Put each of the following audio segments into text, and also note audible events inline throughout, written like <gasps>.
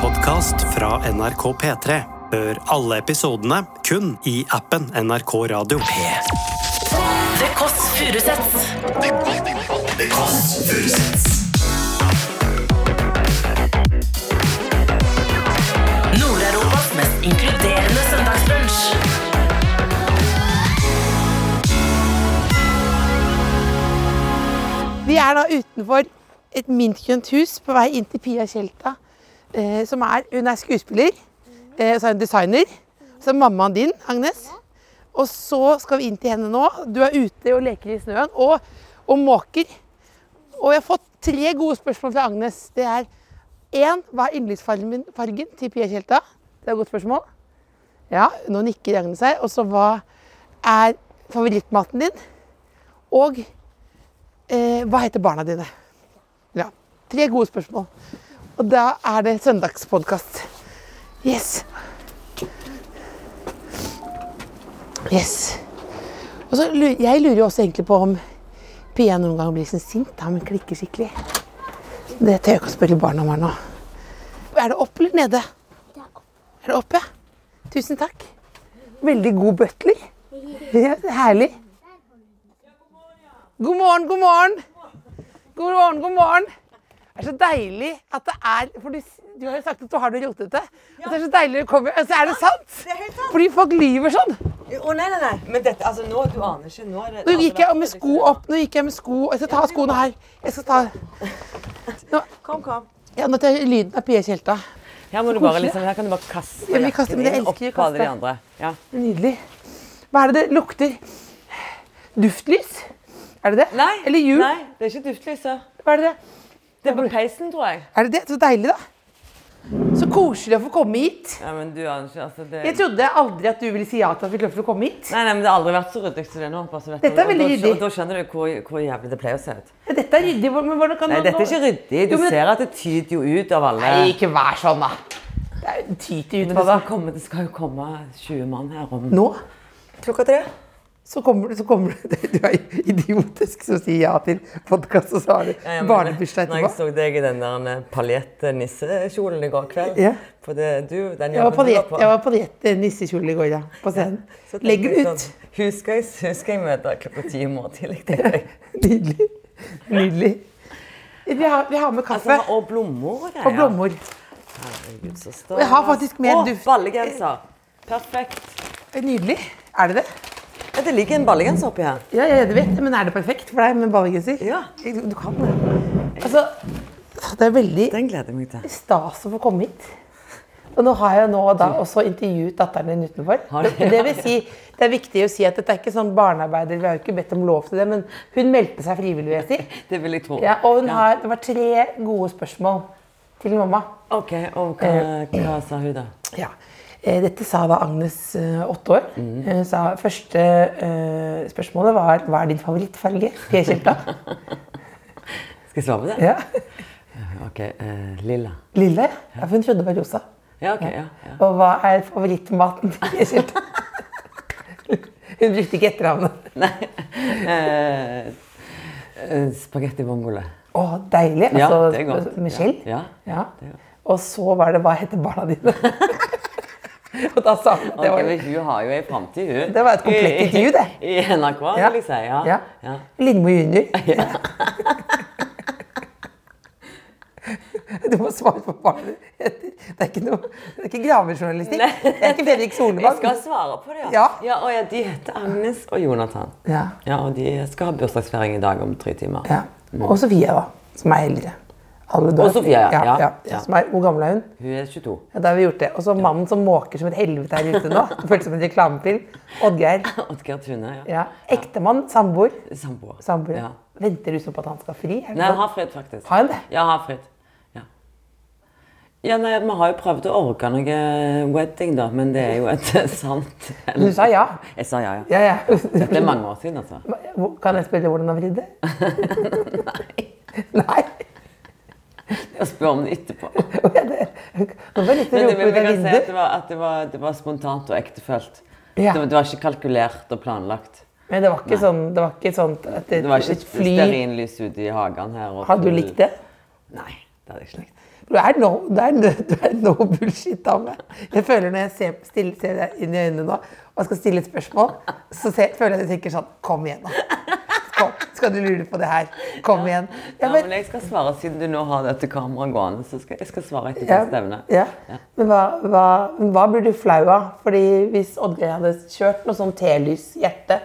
podkast fra NRK P3. Hør alle episodene kun i appen NRK Radio. Det Kåss Furuseths. Nord-Europas mest inkluderende søndagsbrunch. Vi er da utenfor et mintgrønt hus på vei inn til Pia Tjelta. Eh, som er, hun er skuespiller, eh, og så er hun designer. Så er mammaen din, Agnes. Og så skal vi inn til henne nå. Du er ute og leker i snøen og, og måker. Og jeg har fått tre gode spørsmål fra Agnes. Det er én Hva er yndlingsfargen min- fargen til Pia Tjelta? Det er et godt spørsmål. Ja, nå nikker Agnes her. Og så hva er favorittmaten din? Og Eh, hva heter barna dine? Ja, Tre gode spørsmål. Og da er det søndagspodkast. Yes. Yes. Og så lurer, jeg lurer jo også egentlig på om Pia noen gang blir sånn sint da hun klikker skikkelig. Det tør jeg ikke å spørre barna om her nå. Er det opp eller nede? Er det opp, ja. Tusen takk. Veldig god butler. Ja, herlig. God morgen, god morgen. God morgen, god morgen. Det er så deilig at det er For du, du har jo sagt at du har det rotete. Og det er så deilig å komme Altså, er det sant? Det er helt sant. Fordi folk lyver sånn. Å, nei, nei, nei. Men dette, altså, nå, du aner ikke. Nå, er Altså, liksom- det, Nå gikk jeg med sko opp. Nå gikk jeg med sko Jeg skal ta av skoene her. Jeg skal ta Kom, kom. Ja, nå tar jeg lyden av Pia Tjelta. Her, må du bare, liksom, her kan du bare kaste Ja, vi kaster, men jeg opp elsker å på alle de kaste. andre. Ja. Nydelig. Hva er det det lukter? Duftlys? Er det det? Nei, Eller jul? Nei, det er ikke duftlyset. Hva er det det? Det er på peisen, tror jeg. Er det det? Så deilig, da. Så koselig å få komme hit. Ja, men du aner ikke, altså, det... Jeg trodde aldri at du ville si ja til at vi fikk lov til å komme hit. Nei, nei, men det har aldri vært så ryddig som det er nå. Bare, så vet Dette du. er veldig Og da- ryddig. Og da skjønner du hvor, hvor jævlig det pleier å se ut. Ja, Dette er ryddig, hvor- men hvordan kan Nei, man dette er nå- ikke ryddig. Du Jo, men- ser at det tyter jo ut av alle. Nei, ikke vær sånn, da. Det er jo tyter ut Men på det skal, deg. komme, det skal jo komme 20 mann her om Nå Klokka tre? så kommer du, så kommer du <laughs> Du er idiotisk som sier ja til podkast, og så har du barnebursdag Når jeg etterpå. så deg i den der paljetnissekjolen i går kveld Ja. For det, du, den Jeg var på jobben du diett- jeg var på diett eh, nissekjole i går, ja. På scenen. Så tenkte Legg jeg den ut. sånn, Husker jeg, husker jeg møter klokka ti i morgen <laughs> tidlig. tenkte sånn. jeg. Nydelig. Nydelig. Vi har, vi har med kaffe Altså, og blommer og greier. og blommer. Herregud, så stas. Og jeg har faktisk med en Å, duft. ballegenser. Perfekt. Nydelig. Er det det? Ja, det ligger en ballegenser oppi her. Ja, jeg vet det, men er det perfekt for deg med ballegenser? Ja. Du, du kan det. Altså, det er veldig Den gleder jeg meg til. stas å få komme hit. Og nå har jeg nå da også intervjuet datteren din utenfor. Har du? Det vil si, det er viktig å si at dette er ikke sånn barnearbeider, vi har jo ikke bedt om lov til det, men hun meldte seg frivillig, vil jeg si. Det vil jeg tro. Ja, og hun har, det var tre gode spørsmål til mamma. OK, og hva, Eh. hva sa hun da? Ja. Eh, Dette sa da Agnes, eh, åtte år. Mm. Hun sa første eh, spørsmålet var hva er din favorittfarge? <laughs> P-skjelta. Skal jeg svare på det? Ja. OK. eh, lilla. Lilla, ja. ja. For hun trodde det var rosa. Ja, OK. Ja, ja. <laughs> Og hva er favorittmaten til P-skjelta? Hun brukte ikke etternavnet. Nei. <laughs> Eh, eh, Spagetti vongole. Å, deilig. Ja, Altså, det er godt. Med skjell. Ja, ja, Ja. det er godt. Og så var det Hva heter barna <laughs> dine? og <laughs> da sa hun at Altså, det Ok, var men Hun har jo ei framtid, hun. Det var et komplett I- intervju, det. <laughs> I NRK, Ja. vil jeg si. Ja. Ja. Ja. Lindmo junior. <laughs> Ja. <laughs> Du må svare på hva det heter. Det er ikke noe Det er ikke gravejournalistikk. Det er ikke Fredrik Jeg skal Solvang. svare på det, Ja. ja og ja, de heter Agnes og Jonathan. Ja. Ja, og de skal ha bursdagsfeiring i dag om tre timer. ja. Og Sofie, da. Som er eldre. Alle dør. Og Sofie, ja. ja, Ja, ja. ja. Som er, hvor gammel er hun? Hun er 22. Ja, da har vi gjort det. Og så mannen som måker som et helvete her ute nå. Det føles som en reklamefilm. Oddgeir. <laughs> Oddgeir Tune. Ja. Ja. Ektemann, samboer. Samboer. Samboer. Ja. Venter du så på at han skal ha fri? Er det Nei, sånn? har fred, faktisk. Har han det? Ja, har fred. Ja. Ja, nei, Vi har jo prøvd å orke noe eh, wedding, da, men det er jo et <laughs> sant Du sa ja. Jeg sa ja, ja. Ja, ja. Det er mange år siden, altså. Hvor- Kan jeg spørre hvordan han <laughs> vridde? Nei. Jeg spør om det etterpå. Nå var jeg litt Men det, rope ut men vi av kan si at vinduet. det var, at det var, det var spontant og ektefølt. Ja. Det, var- det var ikke kalkulert og planlagt. Men det var ikke sånn, det var ikke sånn at et, Det var ikke Mm. et et stearinlys fly ute i hagen her. og Hadde du full- likt det? Nei, det hadde jeg ikke likt. Du er no, du er, no- du er no bullshit-dame. Jeg føler når jeg ser, stille, ser deg inn i øynene nå og skal stille et spørsmål, så ser, føler jeg at jeg tenker sånn Kom igjen, nå. Kom, skal du lure på det her? Kom igjen. Ja, Ja, men men, jeg skal svare siden du nå har dette kameraet gående. så skal jeg skal svare etter ja, beste evne. ja. men hva, hva, hva blir du flau av? Fordi hvis Oddgeir hadde kjørt noe sånn telys-hjerte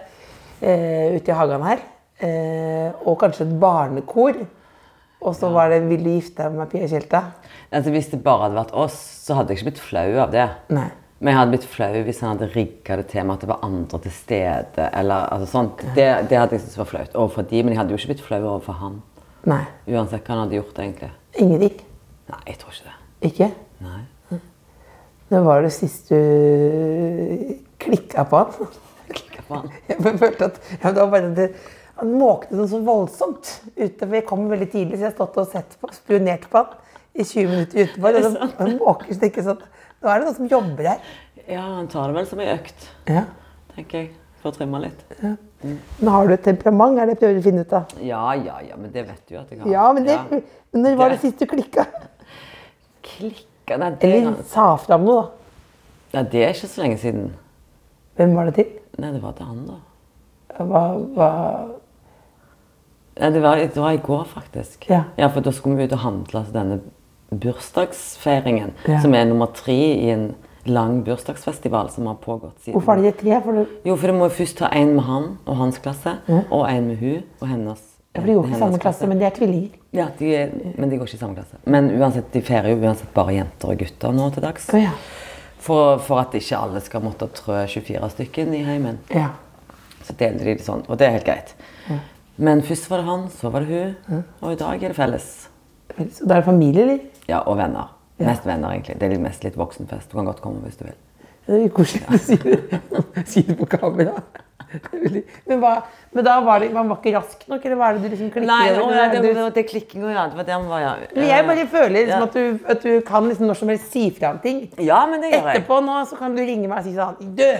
eh, ute i hagen her, eh, og kanskje et barnekor, og så var det 'Vil du gifte deg med meg, Pia Tjelta'? Altså, hvis det bare hadde vært oss, så hadde jeg ikke blitt flau av det. Nei. Men jeg hadde blitt flau hvis han hadde rigga det til med at det var andre til stede. eller altså sånt. Det, det hadde jeg syntes var flaut overfor de, men jeg hadde jo ikke blitt flau overfor han. Nei. Uansett hva han hadde gjort, egentlig. Ingenting. Nei, jeg tror ikke det. Ikke? Nei. Når var det sist du klikka på han? Klikka på han. Jeg bare følte at ja, det var bare det, Han måkte noe så voldsomt ute. For jeg kom veldig tidlig, så jeg har stått og sett på, spionert på han i 20 minutter utenfor. Og det- han måker så ikke sånn Nå er det noen som jobber her. Ja, han tar det vel som ei økt, Ja. tenker jeg. For å trimme litt. Men har du et temperament? Er det jeg prøver å finne ut av? Ja, ja, ja, men det vet du jo at jeg har. Ja, men det, men når var det Det- sist du klikka? Klikka Nei, det, Eller sa fra om noe, da. ja, det er ikke så lenge siden. Hvem var det til? Nei, det var til han, da. Hva, hva Nei, det var, det var i går, faktisk. Ja. For da skulle vi ut og handle til denne bursdagsfeiringen, Ja. som er nummer tre i en lang bursdagsfestival som har pågått siden. Hvorfor er det tre? For det, Jo, for du må jo først ta en med han og hans klasse, og en med hun og hennes. for de går ikke i hennes samme klasse, men de er tvillinger. Ja, de er, men de går ikke i samme klasse. Men uansett, de feirer jo uansett bare jenter og gutter nå til dags. Å ja. For, for at ikke alle skal måtte trø 24 stykken i heimen. Ja. Så delte de det sånn, og det er helt greit. Men først var det han, så var det hun, og i dag er det felles. Vel, Så da er det familie, eller? Ja, og venner. Mest venner, egentlig. Det er litt- mest litt voksenfest. Du kan godt komme hvis du vil. Det er litt koselig å si det, <laughs> si det på kamera. Det er veldig- Men, hva, men da var det, man var ikke rask nok, eller hva er det du liksom klikker Nei, over? å, ja, det, Du- det, det, det klikkinga, ja. Det var der vi var, ja. Eh, Men jeg bare føler liksom Ja. at, du, at du kan liksom når som helst si fra om ting. Ja, men det gjør jeg. Etterpå nå så kan du ringe meg og si sånn Du,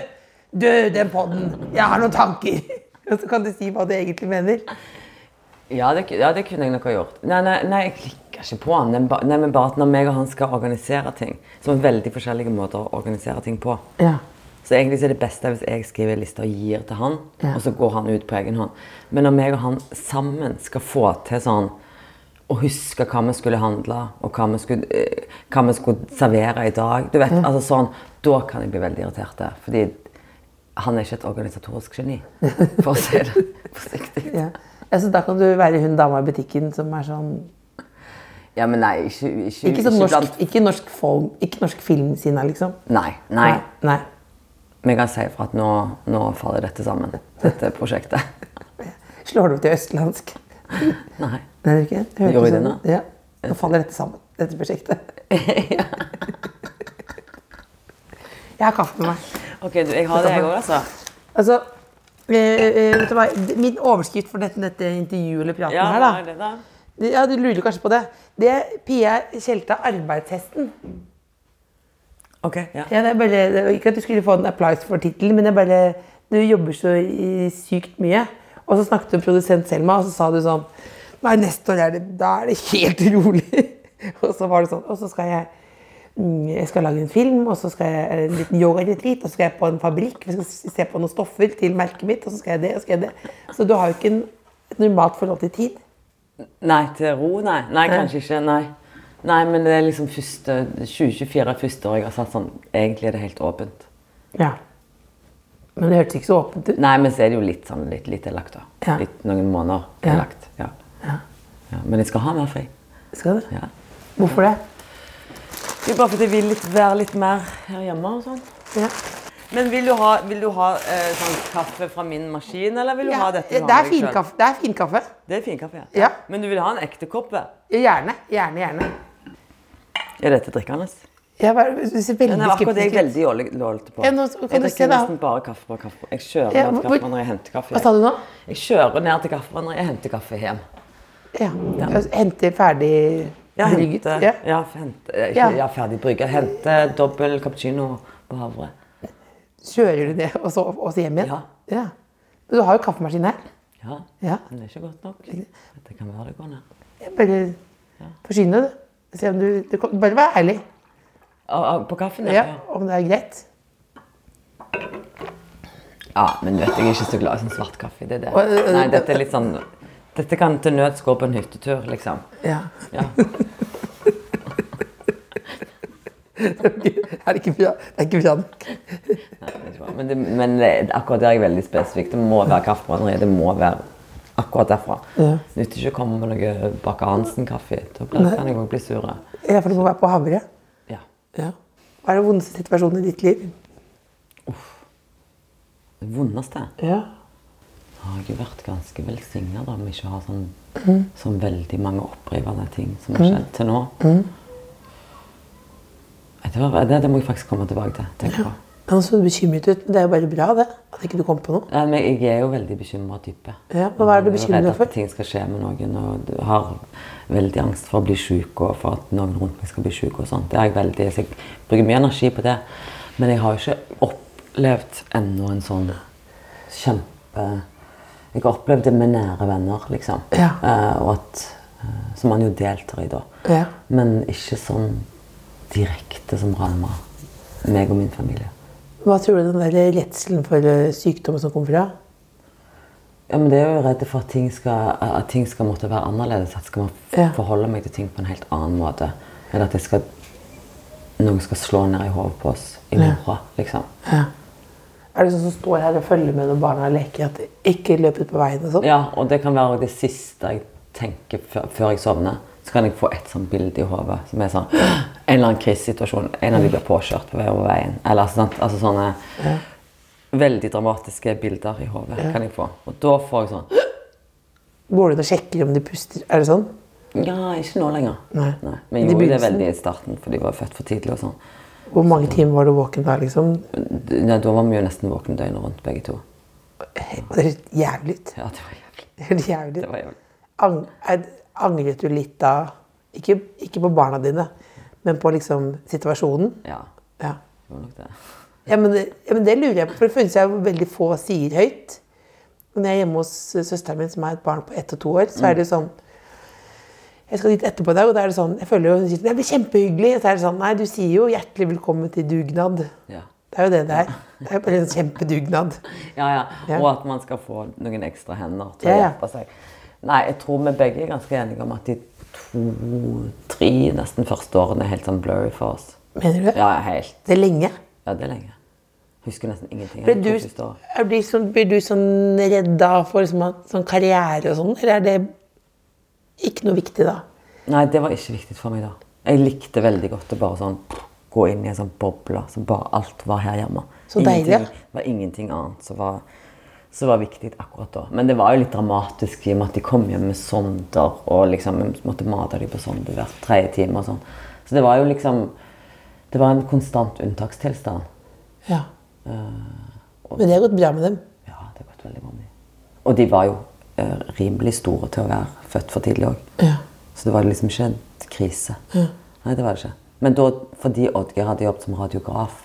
du, den podden, jeg har noen tanker. <laughs> Og så kan du si hva du egentlig mener. Ja det, ku- ja, det kunne jeg nok ha gjort. Nei, nei, nei jeg klikker ikke på han. Den ba- Nei, men bare at når meg og han skal organisere ting, som er veldig forskjellige måter å organisere ting på. Ja. Så egentlig så er det beste hvis jeg skriver en liste og gir til han, Ja. og så går han ut på egen hånd. Men når meg og han sammen skal få til sånn å huske hva vi skulle handle, og hva vi skulle, eh, hva vi skulle servere i dag, du vet, altså sånn, da kan jeg bli veldig irritert. der, Fordi han er ikke et organisatorisk geni, for å si det <laughs> forsiktig. ja. Altså, da kan du være hun dama i butikken som er sånn Ja, men nei, ikke, ikke, Ikke, sånn norsk, blant- ikke norsk, folk, ikke norsk film sina, liksom. Nei, nei. Nei. Men jeg kan si fra at nå, nå faller dette sammen, dette prosjektet. <laughs> Slår du opp til østlandsk? Nei. Nei, det er ikke. det. Gjorde Hørtes vi det sånn nå? ut. Ja. Nå faller dette sammen, dette <laughs> prosjektet. Jeg har kaffe med meg. Ok, du, jeg har det jeg òg, altså. Altså, eh, eh, vet du hva? Min overskrift for dette, dette intervjuet eller praten Ja, her, hva er da det da? Ja, du lurer kanskje på det. Det er Pia Tjelta arbeidshesten. Ok, ja. Ja, det er bare, det er ikke at du skulle få en applaus for tittelen, men det er bare Du jobber så i- sykt mye. Og så snakket du med produsent Selma, og så sa du sånn Nei, neste år er det, da er det helt rolig. <laughs> og så var det sånn Og så skal jeg mm, jeg skal lage en film, og så skal jeg eller en liten yogaretreat, og så skal jeg på en fabrikk, vi skal s- se på noen stoffer til merket mitt, og så skal jeg det, og så skal jeg det. Så du har jo ikke en, et normalt forhold til tid. Nei, til ro, nei. Nei, kanskje ikke. Nei. Nei, men det er liksom første, 2024 er første år jeg har satt sånn Egentlig er det helt åpent. Ja. Men det hørtes ikke så åpent ut. Nei, men så er det jo litt sånn litt, litt er lagt, da. Ja. Litt, noen måneder Ja. er lagt. Ja. ja. Men jeg skal ha mer fri. Skal du? Ja. Hvorfor det? Det er bare fordi jeg vil litt, være litt mer her hjemme og sånn. Ja. Men vil du ha, vil du ha eh, sånn kaffe fra min maskin, eller vil du ha dette? du det er har med deg selv? finkaffe. Det er finkaffe. Det er finkaffe, ja. Ja. Men du vil ha en ekte kopp? ja? Gjerne, gjerne, gjerne. Er dette drikkende? Jeg var, du ser veldig Den er akkurat det jeg skeptisk ut. er veldig dårlig dårlig på. Ja, nå kan jeg du se, drikker da. nesten bare kaffe fra kaffe. Jeg kjører Ja, ned til hvor- kaffe når jeg henter kaffe. Hva sa du nå? Jeg kjører ned til kaffe når jeg henter kaffe hjem. Ja. Altså, Hente ferdig Jeg brygget. henter, Ja. ja. hente, eh, Ja. ikke, ja, ferdig brygge. Henter dobbel cappuccino på havre. Kjører du det, og så, og så hjem igjen? Ja. ja. Men du har jo kaffemaskin her. Ja, Ja. men det er ikke godt nok. Det kan være det går ned. Jeg bare forsyner det. Se om du, du kan- bare vær ærlig Og- og På kaffen? ja, om det er greit. Ja, men vet du, jeg er ikke så glad i sånn svart kaffe. Det er det. Å, eh, ø, ø, Nei, dette er litt sånn Dette kan til nøds gå på en hyttetur, liksom. Ja. Ja. Det <laughs> er ikke bra. Det er ikke bra nok. Men, det, men det, akkurat der er jeg veldig spesifikk. Det må være kaffebrenneri. Det må være akkurat derfra. Ja. Det nytter ikke å komme med noe Baker Hansen-kaffe. Da blir- kan jeg òg bli sur. Ja, for du må være på Havre. Ja. Ja. Hva er den vondeste situasjonen i ditt liv? Det vondeste Ja. har jeg jo vært ganske velsigna da, med ikke å ha sånn, Mm. sånn veldig mange opprivende ting som har skjedd til nå. Mm. Nei, Det, var, det, det må jeg faktisk komme tilbake til. tenker jeg på. Han så bekymret ut, men det er jo bare bra det. At ikke du kom på noe. Ja, men jeg er jo veldig bekymra type. Ja, og hva er du Jeg jo redd bekymret for? At ting skal skje med noen, og du har veldig angst for å bli syk og for at noen rundt meg skal bli syk og sånt. Det er jeg veldig, så jeg bruker mye energi på det. Men jeg har jo ikke opplevd ennå en sånn kjempe Jeg har opplevd det med nære venner, liksom. Ja. Eh, og at, eh, som man jo deltar i, da. Ja. Men ikke sånn direkte som rammer meg og min familie. Hva tror du den der redselen for eh, sykdom som kom fra? Ja, men det er jo redd for at ting skal, at ting skal måtte være annerledes. At skal man f- Ja. forholde meg til ting på en helt annen måte. Eller at jeg skal, noen skal slå ned i hodet på oss i morgen, liksom. Er det sånn som står her og følger med når barna leker, at de ikke løp ut på veien og sånn? Ja, og det kan være det siste jeg tenker før, før jeg sovner. Så kan jeg få et sånt bilde i hodet som er sånn <gasps> En eller annen krisesituasjon. En av de blir påkjørt på vei over veien. Eller altså, sant? altså sånne veldig dramatiske bilder i hodet kan jeg få. Og da får jeg sånn Går du inn og sjekker om de puster? Er det sånn? Ja, ikke nå lenger. Nei. Men Men i jeg gjorde det begynnelsen? veldig i starten, for de var født for tidlig. og sånn. Hvor mange timer var du våken da, liksom? D- Nei, Da var vi jo nesten våkne døgnet rundt, begge to. Og Det er jævlig. ut. Ja, det var jævlig. Det er jævlig. Det var jævlig. Ang er, angret du litt da? Ikke, ikke på barna dine, men på liksom situasjonen? Ja, Ja. det var nok det. Ja, men, det- ja, men det lurer jeg på, for det finnes jeg jo veldig få sier høyt. Og Når jeg er hjemme hos eh, søsteren min, som er et barn på ett og to år, Mm. så er det jo sånn Jeg skal dit etterpå i dag, og da er det sånn Jeg føler jo hun sier, det blir kjempehyggelig. Og så er det sånn Nei, du sier jo hjertelig velkommen til dugnad. Ja. Det er jo det det er. Det er jo bare en kjempedugnad. Ja, ja. Ja. Og at man skal få noen ekstra hender til Ja, å ja. hjelpe seg. Nei, jeg tror vi begge er ganske enige om at de to-tre nesten første årene er helt sånn blurry for oss. Mener du? Ja, helt. Det er lenge. Ja, det er lenge. Husker nesten ingenting. av Blir de du, to første årene. er- blir, sånn, blir du sånn redd da for liksom, at- sånn karriere og sånn, eller er det ikke noe viktig da? Nei, det var ikke viktig for meg da. Jeg likte veldig godt å bare sånn gå inn i en sånn boble som bare alt var her hjemme. Så deilig, Ingenting- Det var ingenting annet som var, som var viktig akkurat da. Men det var jo litt dramatisk i og med at de kom hjem med sonder, og liksom vi måtte mate dem på sonder hver tredje time og sånn. Så det var jo liksom Det var en konstant unntakstilstand. Ja. Men det har gått bra med dem. Ja, det har gått veldig bra med dem. Og de var jo eh, rimelig store til å være født for tidlig òg. Ja. Så det var liksom ikke en krise. Nei, det var det ikke. Men da, fordi Oddgeir hadde jobbet som radiograf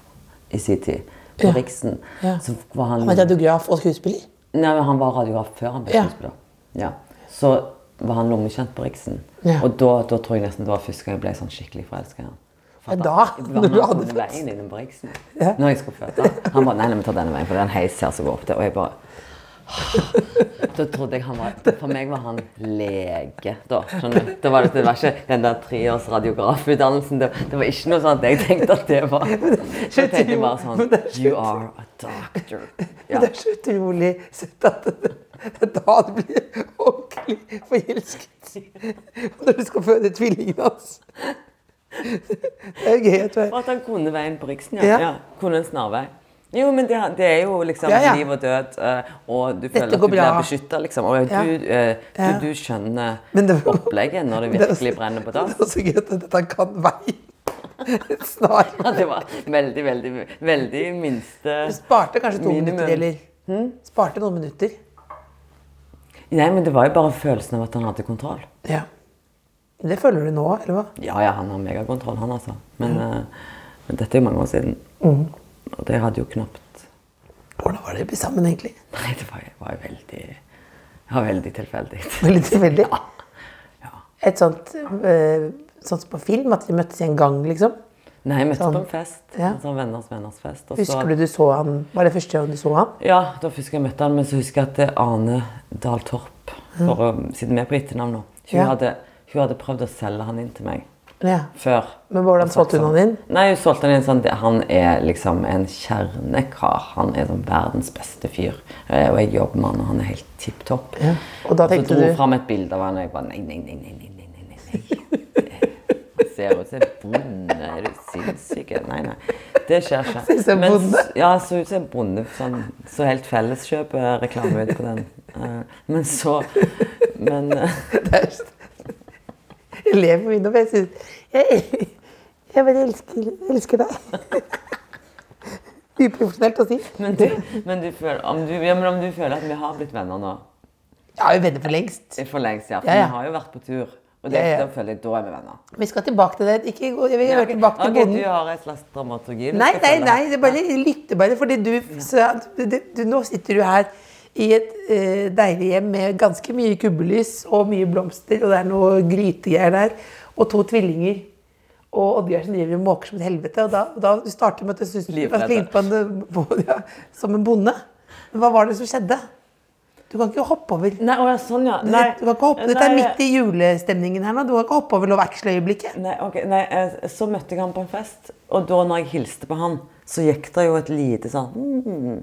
i sin tid, på Ja. Riksen, Ja. så var han Han er radiograf og skuespiller. Nei, men han var radiograf før han ble Ja. skuespiller. Ja. Så var han lommekjent på Riksen. Ja. Og da, da tror jeg nesten det var første gang jeg ble sånn skikkelig forelska i ham. Ja, da, når du hadde <laughs> født. veien innom på Riksen. Når jeg skulle føde. Han bare Nei, nei, vi tar denne veien, for det er en heis her som går opp der. Og jeg bare <sighs> Da trodde jeg han var For meg var han lege, da. Skjønner du? Det var, det- det var ikke den der treårs radiografutdannelsen. Det, det var ikke noe sånn at jeg tenkte at det var Så tenkte jeg bare sånn Men det er You are a doctor. Men Det er så utrolig søtt at det, det er da du blir ordentlig forelsket. Når du skal føde tvillingen hans. Det er jo gøy at du er For at han kunne veien på Riksen, Ja. ja. ja. Kunne en snarvei. Jo, men det, det er jo liksom Ja, ja. liv og død, eh, og du føler at går du blir bra. beskytta, liksom. Og Ja. du, eh, Ja. du, du skjønner Men det- opplegget når <laughs> det Det er virkelig også- brenner på <laughs> Det dass. er også gøy at dette kan veien. Snart. Ja, det var veldig, veldig, veldig minste Du sparte kanskje to Minimum. Hm? minutter, eller? Sparte noen minutter. Nei, men det var jo bare følelsen av at han hadde kontroll. Ja. Det føler du nå, eller hva? Ja, ja, han har megakontroll, han altså. Men, Mm. eh, men dette er jo mange år siden. Og det hadde jo knapt Hvordan var dere sammen, egentlig? Nei, det var, var jo veldig, var veldig tilfeldig. Veldig tilfeldig. Ja. Et sånt eh, sånn som på film, at dere møttes i en gang, liksom? Nei, jeg møtte Sånn. på en fest. Ja. En sånn venners venners fest. og så- Husker du du så han Var det første gang du så han? Ja, da husker jeg møtte han, men så husker jeg at det er Ane Dahl Torp, for å sitte med på etternavn nå, hun, Ja. hadde, hun hadde prøvd å selge han inn til meg Ja. <laughs> før. sånn. Men hvordan solgte hun han inn? Nei, hun solgte han inn sånn, det- han er liksom en kjernekar. Han er sånn verdens beste fyr. Eh, Og jeg jobber med han, og han er helt tipp topp. Ja. Og da så tenkte dro du hun fram et bilde av han, og jeg bare nei, nei, nei, nei, nei, nei, nei, nei, nei. Han ser ut som en bonde. Er du sinnssyk? Nei, nei. Det skjer ikke. Ser ut som en Men- bonde. Ja, så ut som en bonde. Sånn, så helt Felleskjøp-reklame ut på den. Eh, Men så Men eh, Taust. Jeg ler på vinduet, for jeg synes jeg, jeg bare elsker, elsker deg. <laughs> Uprofesjonelt å si. Men du, men du føler, om du, ja, men om du føler at vi har blitt venner nå Jeg er jo venner for lengst. For lengst, ja. For Ja, ja. vi har jo vært på tur. Og det, Ja, ja. da føler jeg da er vi venner. Vi skal tilbake til det. Ikke, gå- jeg vil Ja, høre tilbake til ok, bonden. Du har et slags dramaturgi? du Nei, skal nei, følge. nei, det er bare jeg lytter bare, fordi du, så, du, du Nå sitter du her i et eh, deilig hjem med ganske mye kubbelys og mye blomster, og det er noe grytegreier der, og to tvillinger. Og Oddbjørn som driver og måker som et helvete. Og da, og da du starter med at du syns du Livredde. lignet på en, på, ja, som en bonde. Men hva var det som skjedde? Du kan ikke hoppe over. Nei, å, ja, sånn, ja. Du- Nei. Du kan ikke hoppe, dette er Nei, midt i julestemningen her nå. Du kan ikke hoppe over lovvekseløyeblikket. Nei, ok, nei, eh, så møtte jeg han på en fest, og da når jeg hilste på han, så gikk det jo et lite sånn hmm.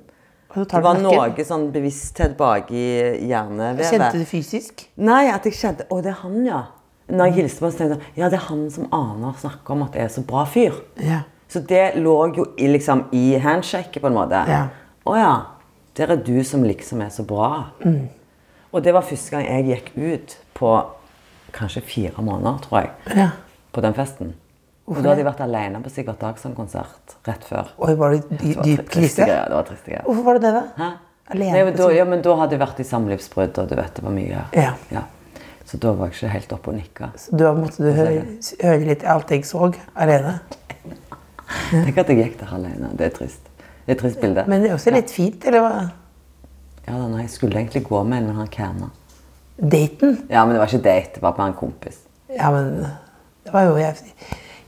Og så Det tar du var nakken. noe sånn bevissthet baki Kjente hjernevevet. du fysisk? Nei, at jeg kjente Å, det er han, ja. Mm. Når jeg hilste på han, så tenkte jeg sånn, ja, det er han som aner snakker om at jeg er så bra fyr. Ja. Så det lå jo i, liksom, i handshake, på en måte. Ja. Å ja. Der er du som liksom er så bra. Mm. Og det var første gang jeg gikk ut på kanskje fire måneder, tror jeg. Ja. På den festen. Og da hadde jeg vært alene på Sigvart Dagsson-konsert rett før. Oi, var det dy dyp Triste krise? greier, Det var triste greier. Hvorfor var det det, da? Hæ? Alene Nei, på men da, Sigvart- ja, men da hadde jeg vært i samlivsbrudd, og du vet det var mye. Ja. Så da var jeg ikke helt oppe og nikka. Så da måtte du høre, høre litt alt jeg så alene. Tenk at jeg gikk der alene. Det er trist. Det er et trist bilde. Men det er også litt fint, eller hva? Ja, da, nei, jeg skulle egentlig gå med en, men han kærna. Daten? Ja, men det var ikke date, det var bare en kompis. Ja, men det var jo Jeg,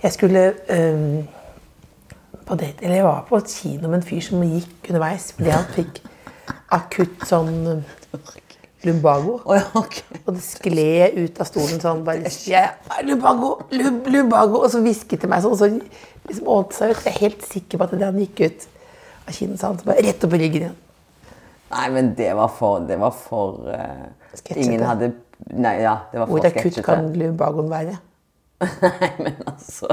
jeg skulle øhm, på date Eller jeg var på et kino med en fyr som gikk underveis fordi han <laughs> fikk akutt sånn øhm, lumbago. Å ja, ok. Og det skled ut av stolen sånn bare jeg, Lumbago! Lub, lumbago! Og så hvisket til meg sånn. Så liksom åt seg ut. Jeg er helt sikker på at det han gikk ut av kinnet, sa han. Så bare rett opp i ryggen igjen. Nei, men det var for Det var for eh, Sketsjete. Ingen hadde Nei, ja, det var for Hvor akutt sketsjete. kan lumbagoen være? Nei, men altså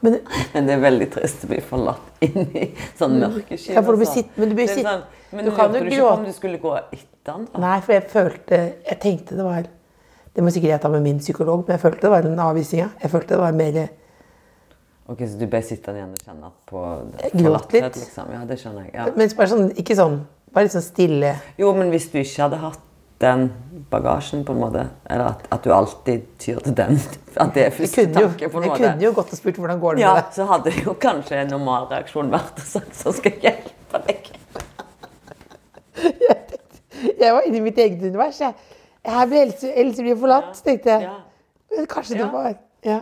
Men Men <laughs> det er veldig trist å bli forlatt inn i sånn mørke Mm. skinn. Ja, for du blir altså. sitt- men du blir Det er sitt- sånn, men du du kan kan jo jo ikke på gråte. om du skulle gå etter han. da. nei, for jeg følte Jeg tenkte det var Det må sikkert jeg ta med min psykolog, men jeg følte det var en avvisning. ja. Jeg følte det var mer Ok, Så du ble sittende igjen og kjenne på gråt litt. forlatthet, liksom? Ja, det skjønner jeg. Ja. Men bare sånn, ikke sånn Bare litt sånn stille. Jo, men hvis du ikke hadde hatt den bagasjen, på en måte, eller at, at du alltid tyr til den <laughs> At det er Jeg første kunne jo, tanke, på en jeg måte. kunne jo gått og spurt hvordan går det Ja, med deg. så hadde jo kanskje en normal reaksjon vært å sagt så skal jeg hjelpe deg. Jeg var inne i mitt eget univers. Jeg, her blir Else, Else blir forlatt, tenkte jeg. Ja. Men kanskje det Ja. var ja.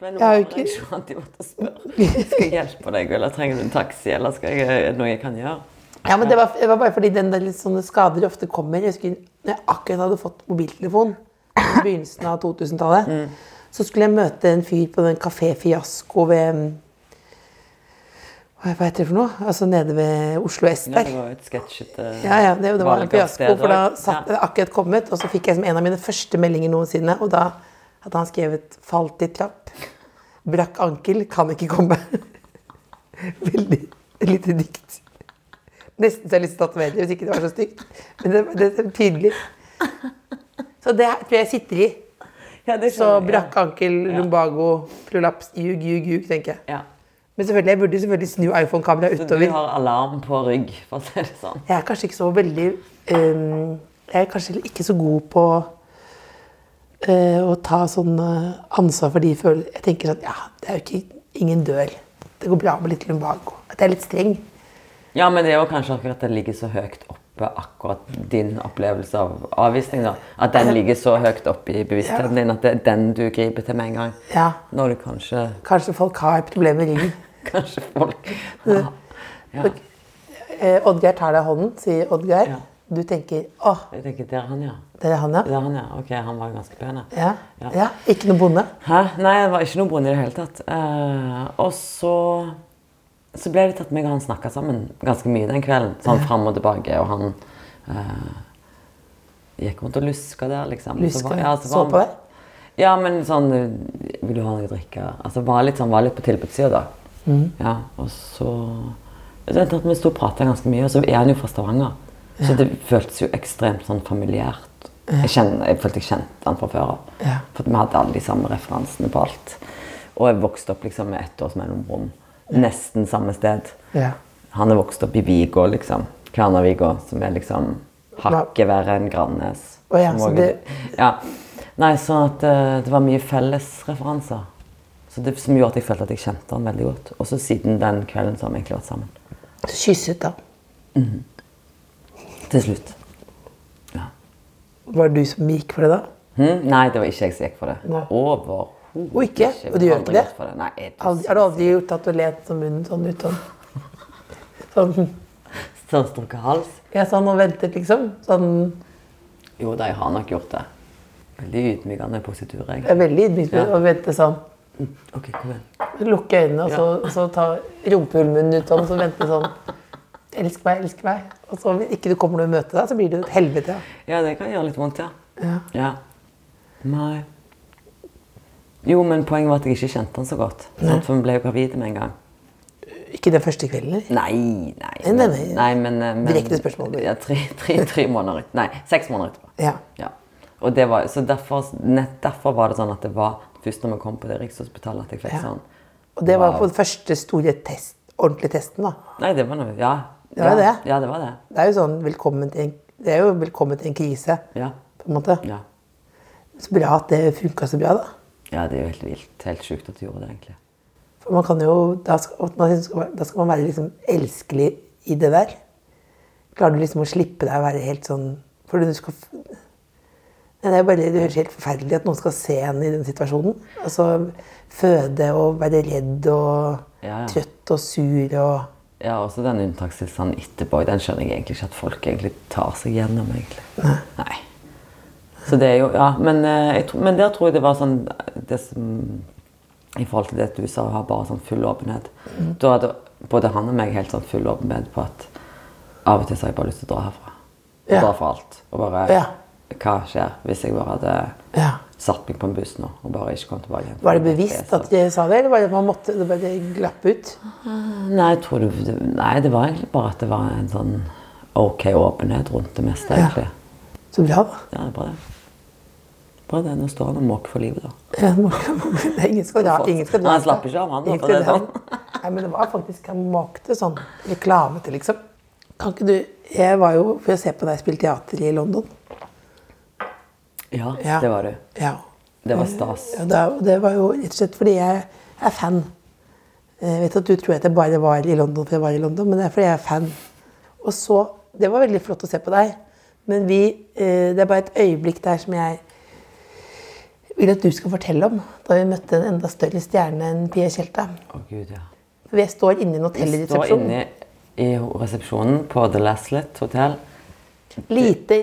Men Jeg har jo normal ikke- reaksjon hadde jo vært å spørre skal jeg hjelpe deg, eller trenger du en taxi, eller skal jeg, er det noe jeg kan gjøre? <laughs> ja, men det var, det var bare fordi den der litt sånne skader ofte kommer. Jeg husker når jeg akkurat hadde fått mobiltelefon i begynnelsen av 2000-tallet, Mm. så skulle jeg møte en fyr på den Kafé Fiasko ved mm, Hva hva heter det for noe? Altså nede ved Oslo S Ja, der. det var jo et sketsjete Ja, ja, det, det var en valg av fiasko, sted for da også. satt ja. det akkurat kommet, og så fikk jeg som en av mine første meldinger noensinne, og da hadde han skrevet 'falt i trapp', 'brakk ankel, kan ikke komme'. <laughs> Veldig lite dikt. Nesten så jeg har lyst til å tatovere det, hvis ikke det var så stygt. Men det, det er tydelig. Så det her tror jeg jeg sitter i. Ja, det Så skjønner jeg. brakk ankel, lumbago, prolaps, ljug, ljug, ljug, tenker jeg. Ja. Men selvfølgelig, jeg burde selvfølgelig snu iPhone-kameraet Så du utover. har alarm på rygg, for å si det sånn. Jeg er kanskje ikke så veldig øhm, Jeg er kanskje ikke så god på øh, å ta sånn øh, ansvar for de følelsene. Jeg tenker sånn Ja, det er jo ikke Ingen dør. Det går bra med litt lumbago. At jeg er litt streng. Ja, men det er jo kanskje akkurat at det ligger så høyt opp oppe akkurat din opplevelse av avvisning. da. At den ligger så høyt oppe i bevisstheten din at det er den du griper til med en gang. Ja. Når du kanskje Kanskje folk har problemer med ryggen. Kanskje folk ja. ja. Eh, Oddgeir tar deg i hånden, sier Oddgeir. Ja. Du tenker 'Å, Jeg tenker, der er han, ja. det er han, ja'. Der er han, ja. Ok, han var jo ganske pen. Ja. ja. Ikke noe bonde. Hæ? Nei, det var ikke noe bonde i det hele tatt. Eh, og så så ble det til at meg og han snakka sammen ganske mye den kvelden. Sånn fram og tilbake. Og han eh, gikk rundt og luska der, liksom. Luska? var- Så var han- på deg? Ja, men sånn eh, Vil du ha noe å drikke? Altså var litt, sånn, var litt på tilbudssida, da. Mm. Ja, og så det endte at Vi sto og prata ganske mye, og så er han jo fra Stavanger. Så det føltes jo ekstremt sånn familiært. Jeg, kjenner, jeg følte jeg kjente han fra før av. Ja. For at vi hadde alle de samme referansene på alt. Og jeg vokste opp liksom med ett års mellomrom. Nesten samme sted. Ja. Han er vokst opp i Vigå, liksom. Kværnervigå, som er liksom hakket verre enn Grannes. Å ja, Som så også- det- ja. Nei, sånn at eh, det var mye fellesreferanser. Så det Som gjorde at jeg følte at jeg kjente han veldig godt. Og så siden den kvelden så har vi egentlig vært sammen. Kysset, da. Til slutt. Var det du som gikk for det, da? Hm? Nei, det var ikke jeg som gikk for det. Nei. Overhodet Og ikke? Og du gjør Aldri ikke det? gått for Nei, er du Aldri, har du aldri gjort at du let sånn munnen sånn ut sånn? Sånn, Sånn strukket hals? ja, sånn og ventet, liksom? Sånn, Jo da, jeg har nok gjort det. Veldig ydmykende positur, jeg jeg. er veldig ydmyk Ja. og vente sånn. Ok, kom igjen. Lukke øynene og så, og så ta rumpehullmunnen ut sånn, og så vente sånn. Elsk meg, elsk meg. Og så hvis ikke du kommer noe i møte, da, så blir det jo et helvete. ja. Ja, det kan gjøre litt vondt, ja. Ja. Ja. Nei. Jo, men poenget var at jeg ikke kjente han så godt. Sant? For vi ble jo gravide med en gang. Ikke den første kvelden, eller? Nei, nei. Nei, nei, nei. nei men, eh, men, Direkte spørsmål. Ja, tre, tre, tre måneder ut. Nei, seks måneder etterpå. Ja. Ja. Og det var, så derfor, nett derfor var det sånn at det var først når vi kom på det Rikshospitalet at jeg fikk Ja. sånn. Og det var Wow. på den første store test, ordentlige testen, da. Nei, det var noe, ja. Det var ja. det. Ja, det var det. Det er jo sånn velkommen til en, det er jo velkommen til en krise, Ja. på en måte. Ja. Så bra at det funka så bra, da. ja, det er jo helt vilt. Helt sjukt at du gjorde det, egentlig. For man kan jo, da skal, og man skal, være- da skal man være liksom elskelig i det der. Klarer du liksom å slippe deg å være helt sånn For du skal f- Nei, Det er bare, det høres helt forferdelig at noen skal se en i den situasjonen. Altså føde og være redd og Ja, ja. trøtt og sur og Ja, også den unntakstilstanden etterpå, den skjønner jeg egentlig ikke at folk egentlig tar seg gjennom, egentlig. Nei. Så det er jo, ja, men, eh, jeg, tror- men der tror jeg det var sånn, det som, i forhold til det du sa, å ha bare sånn full åpenhet. Mm. Da hadde både han og meg helt sånn full åpenhet på at av og til så har jeg bare lyst til å dra herfra. Ja. Dra fra alt. Og bare, Ja. hva skjer hvis jeg bare hadde Ja. satt meg på en buss nå, og bare ikke kom tilbake igjen. Var det bevisst at de sa det, eller var det at man måtte det bare glapp ut? Nei, jeg tror det, det, nei, det var egentlig bare at det var en sånn ok åpenhet rundt det meste, egentlig. Så bra, da. Ja, det er bra det. Bra det, nå står han og måker for livet, da. Ja, det var- <laughs> Ingen skal dra. Ingen skal dra. Nei, han slapp ikke av, han, da, Ingen for skal det sånn. er dra. Nei, men det var faktisk Han makte sånn reklame til, liksom. Kan ikke du Jeg var jo for å se på deg spille teater i London. Ja, Ja. det var du. Ja. Det var stas. Ja, det, det var jo rett og slett fordi jeg er fan. Jeg vet at du tror at jeg bare var i London fordi jeg var i London, men det er fordi jeg er fan. Og så Det var veldig flott å se på deg, men vi eh, Det er bare et øyeblikk der som jeg vil at du skal fortelle om. Da vi møtte en enda større stjerne enn Pia Tjelta. Å gud, ja. For Vi står inne i en Jeg står hotellresepsjon. inne i resepsjonen på The Laslet Hotel. Lite,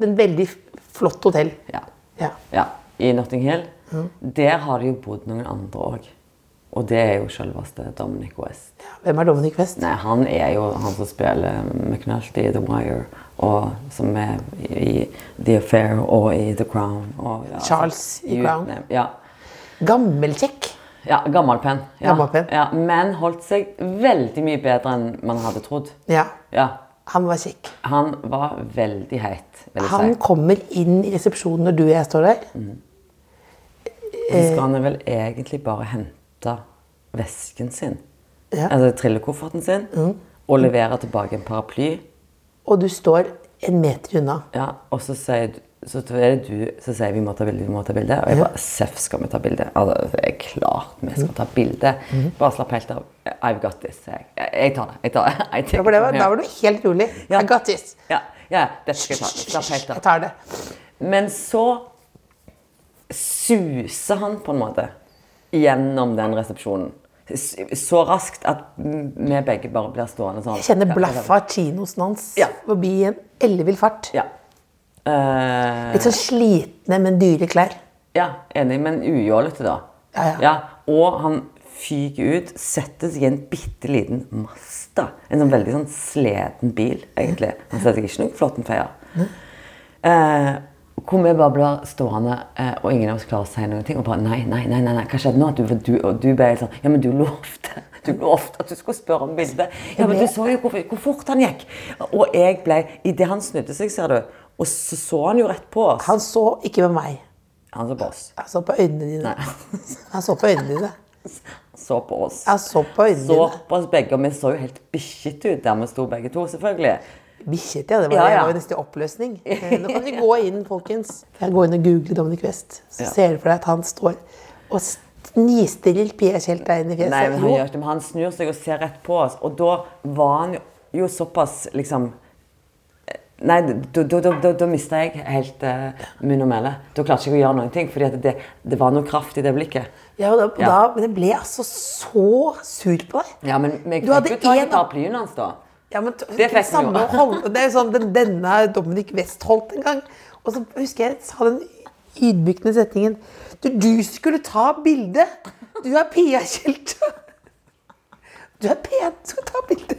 men veldig flott hotell. Ja. Ja. ja. I Notting Hill. Der har det jo bodd noen andre òg. Og det er jo selveste Dominic West. Hvem er Dominic West? Nei, han er jo han som spiller McNulty i The Wire, og som er i The Affair og i The Crown. Og, ja, Charles i ut- Crown. Nei, Ja, Gammelkjekk. ja gammelpenn. Ja. Gammelpenn. Ja, men holdt seg veldig mye bedre enn man hadde trodd. Ja, Ja, han var kjekk. han var veldig heit, vil jeg Han si. kommer inn i resepsjonen når du og jeg står der. Mm. Så eh, skal han vel egentlig bare hente vesken sin, Ja. Mm. altså trillekofferten sin, og levere tilbake en paraply. Og du står en meter unna. Ja, og så sier du så er det du som sier vi må ta bilde, vi må ta bilde. Og jeg bare Seff, skal vi ta Mm. Mm-hmm. bilde? Altså, det er klart vi skal ta bilde. Bare slapp helt av. I've got this, sier jeg. Jeg- Jeg tar det. jeg tar det. <laughs> I take For det var, it. da var du helt rolig. Ja. I got this. Ja, ja, ja, dette skal jeg ta. Slapp helt Jeg av. tar det. Men så suser han på en måte gjennom den resepsjonen. S- Så raskt at m- vi begge bare blir stående sånn. Jeg kjenner Ja, blaffa chinosen hans Ja. forbi i en ellevill fart. Ja. Eh, Litt sånn slitne, men dyre klær. ja, enig, men ujålete, da. Ja, ja. Og han fyker ut, setter seg i en bitte liten Mazda. En sånn veldig sånn sliten bil, egentlig. Han setter seg ikke noe Flåttenfeier. Eh, hvor vi bare blir stående, eh, og ingen av oss klarer å si noen ting. Og bare nei, nei, nei, nei, nei. hva skjedde nå? Du, du, og du ble helt sånn Ja, men du lovte <laughs> du lovte at du skulle spørre om bildet. Ja, men du så jo hvor, hvor fort han gikk. Og jeg ble Idet han snudde seg, ser du, og så så han jo rett på oss. Han så ikke på meg. Han så på oss. Han så på øynene dine. <laughs> Nei. Han så på øynene dine. så på oss. Han så på øynene Så dine. på oss begge, og vi så jo helt bikkjet ut der vi sto begge to, selvfølgelig. Bikkjet, ja. Det var, Ja, det ja. var jo nesten oppløsning. <laughs> Eh, Nå kan du gå inn, folkens. Jeg går inn og googler Dominic West. Så Ja. ser du for deg at han står og nistirrer Pierre Kjelt deg inn i fjeset. Nei, men han Jo, gjør ikke det, men han snur seg og ser rett på oss, og da var han jo, jo såpass, liksom eh, Nei, da, da, da, da, da mista jeg helt eh, munn og mæle. Da klarte jeg ikke å gjøre noen ting, fordi at det, det var noe kraft i det blikket. ja, og da, og Ja. da, men jeg ble altså så sur på deg. Ja, men jeg Du fikk hadde jo tak i en- paraplyen hans, da. Ja, men t- Det fikk vi samme jo. å holde- Det er jo sånn, den, denne Dominic West holdt en gang. Og så husker jeg sa den ydmykende setningen Du, du skulle ta bilde! Du er Pia Kjelta! <laughs> Du er pen, du skal ta bilde!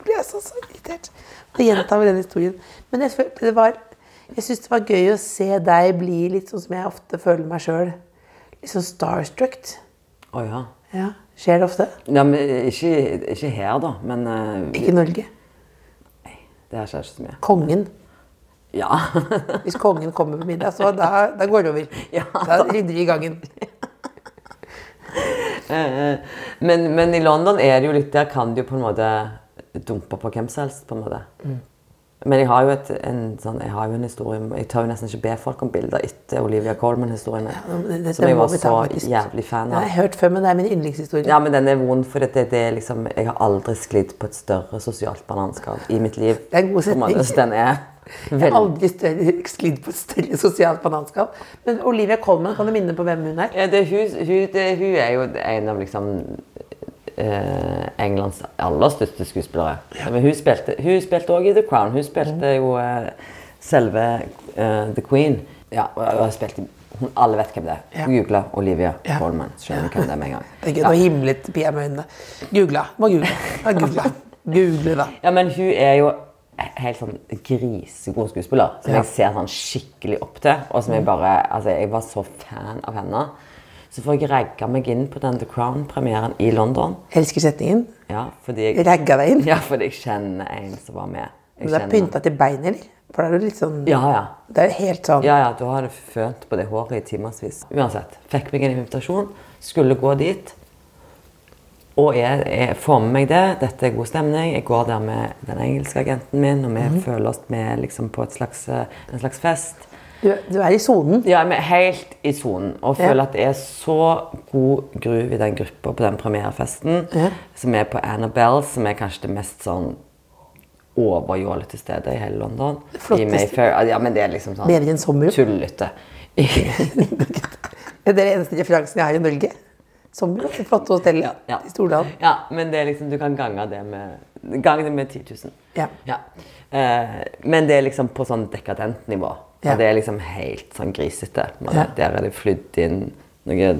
Jeg ble så, så irritert. Da gjentar vi den historien. Men jeg følte det var jeg syns det var gøy å se deg bli litt sånn som jeg ofte føler meg sjøl. Litt sånn starstruck. Å ja. Ja, skjer det ofte? ja men, ikke, ikke her, da, men eh, Ikke i Norge. det her skjer ikke så mye. Kongen. Ja. <laughs> Hvis kongen kommer på middag, så da, da går det over. Ja, da rydder de i gangen. Eh, men, men i London er det jo litt Der kan du jo på en måte dumpe på hvem som helst. på en måte. Mm. Men jeg har jo et, en, sånn, jeg har jo en historie Jeg tør jo nesten ikke be folk om bilder etter Olivia Colman-historien. men det- som det jeg må var vi ta, så faktisk. jævlig fan Den har av. jeg hørt før, men det er min yndlingshistorie. Ja, men den er vond, for det, det er liksom, jeg har aldri sklidd på et større sosialt bananskall i mitt liv. Det er en god på en måte, setning. så den er Jeg har veldig aldri større, sklidd på et større sosialt bananskall. Men Olivia Colman, kan du minne på hvem hun er? Ja, det, hun, hun, det, hun er jo en av liksom eh, Englands aller største skuespillere. Men hun spilte Hun spilte òg i The Crown. Hun spilte jo eh, selve eh, The Queen. Ja, og hun har spilt i hun, Alle vet hvem det er. Ja. Hun Googla Olivia Ja. Colman. Skjønner hvem det er <laughs> med en gang. Det er gøy, Nå himlet Pia med øynene. Googla. Må google. Ja, <laughs> googla. Google, da. Ja, men hun er jo helt sånn grisegod skuespiller, som Ja. Mm. jeg ser sånn skikkelig opp til. Og som jeg bare Altså, jeg var så fan av henne. Så får jeg ragga meg inn på den The Crown-premieren i London. Elsker setningen. Ja, fordi jeg, Ragga deg inn. ja, fordi jeg kjenner en som var med. Du er Jeg kjenner pynta til beinet, eller? For da er du litt sånn han. Ja, ja. Det er jo helt sånn Ja, ja, du har det fønt på det håret i timevis. Uansett, fikk meg en invitasjon, skulle gå dit. Og jeg, jeg får med meg det, dette er god stemning. Jeg går der med den engelske agenten min, og vi Mhm. føler oss med liksom, på et slags, eh, en slags fest. Du, du er i sonen. Ja, men helt i sonen. Og Mm. Ja. føler at det er så god groove i den gruppa på den premierefesten. Ja. Som er på Annabelle, som er kanskje det mest sånn overjålete stedet i hele London. I flotteste. Mayfair. Ja, men det er liksom sånn Bedre enn sommerrom. Tullete. Det er den eneste referansen jeg har i Norge. Sommer og det flotte hotellet Ja, ja. i Stordalen. ja, men det er liksom, du kan gange det med, gange det med 10 000. Ja. Eh, men det er liksom på sånn dekadent nivå. Ja. Og det er liksom helt sånn grisete. Men Ja. Der er det flydd inn noe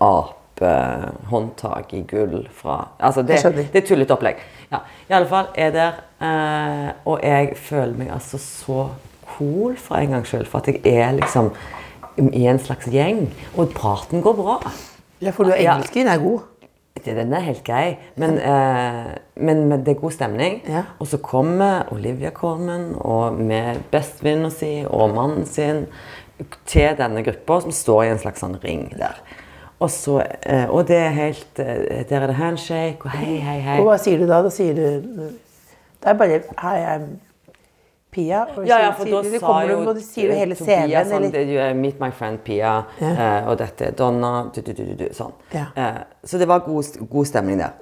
apehåndtak i gull fra Altså, det, Jeg skjønner. det er tullete opplegg. Ja, i alle fall er jeg der, eh, og jeg føler meg altså så cool for en gangs skyld, for at jeg er liksom i en slags gjeng, og praten går bra. Ja, for du er Ja. engelsken er god. Det- Den er helt grei, men, eh, men, men det er god stemning. Ja. Og så kommer Olivia Colman og med bestevenninna si og mannen sin til denne gruppa, som står i en slags sånn ring der. Og, så, eh, og det er helt eh, Der er det handshake og hei, hei, hei. Og hva sier du da? Da sier du Det er bare Hei, jeg er Pia. Og Ja, sier- ja, for da sier, du- sa kommer jo du- og du sier jo hele Tobias CV-en, sånn, eller? det, er jo, Meet my friend Pia, eh, og dette er Donna du, du, du, du, du, Sånn. Ja. Mm. Eh, så det var god, st- god stemning der.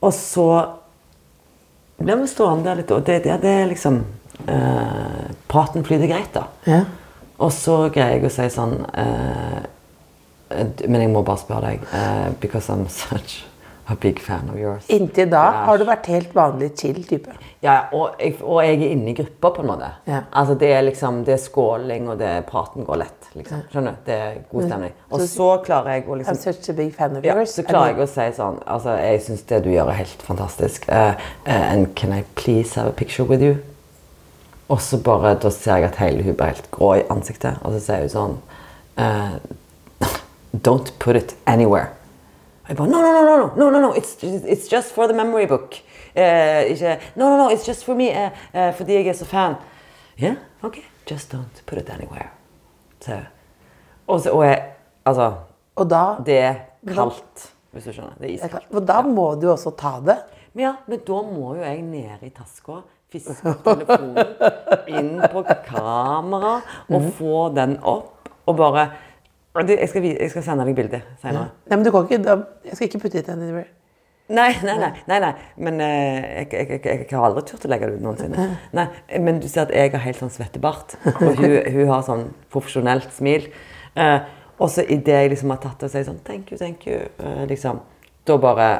Og så ble vi stående der litt, og det, det, det er liksom eh, Praten flyter greit, da. Ja. Og så greier jeg å si sånn eh, d- Men jeg må bare spørre deg, eh, because I'm such a big fan of yours. Inntil da har du vært helt vanlig chill type. Ja, og jeg, og jeg er inne i gruppa, på en måte. Ja. Altså, det er liksom, det er skåling, og det er praten går lett. liksom. Skjønner du? Det er god stemning. Og så klarer jeg å I'm liksom such a big fan of ja, yours. så klarer jeg å si sånn altså, Jeg syns det du gjør, er helt fantastisk. Eh, eh, and can I please have a picture with you? Og så bare, da ser jeg at hele hun blir helt grå i ansiktet, og så sier hun sånn eh, <laughs> Don't put it anywhere. Og jeg bare No, no, no, no, no, no, no, no. It's, it's just for the memory book. Eh, ikke No, no, no, it's just for me, eh, eh, fordi jeg er så fan. Yeah, OK. Just don't put it anywhere. Så, og så, og jeg, altså Og da, det er kaldt, hvis du skjønner. Det er iskaldt. og da må du også ta det. Men ja, men da må jo jeg nede i taska fiske opp telefonen, inn på kamera og få den opp og bare og det- jeg skal, vi- jeg skal sende deg bildet senere. Nei, men du kan ikke, da, jeg skal ikke putte it anywhere. Nei, nei, nei. nei, nei. Men eh, jeg, jeg, jeg, jeg har aldri turt å legge det ut noensinne. Nei, men du ser at jeg har helt sånn svettebart, og hun, hun har sånn profesjonelt smil. Eh, og så idet jeg liksom har tatt det og sier sånn Thank you, thank you, eh, liksom Da bare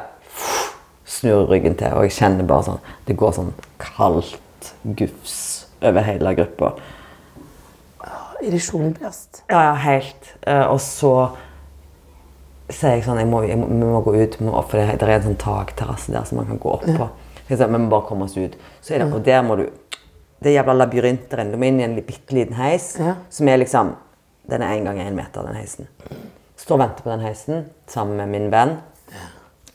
snur ryggen til, og jeg kjenner bare sånn Det går sånn kaldt gufs over hele gruppa. Irrisjonen blir ast. Ja, ja, helt. Eh, og så sier jeg sånn jeg må, jeg må, Vi må gå ut, vi må, for det, det er en sånn takterrasse der som man kan gå opp på. Så jeg sa, vi må bare komme oss ut. Så er det, og der må du Det er jævla labyrinter inne. Du må inn i en li- bitte liten heis Ja. som er liksom Den er én gang én meter, den heisen. Står og venter på den heisen sammen med min venn.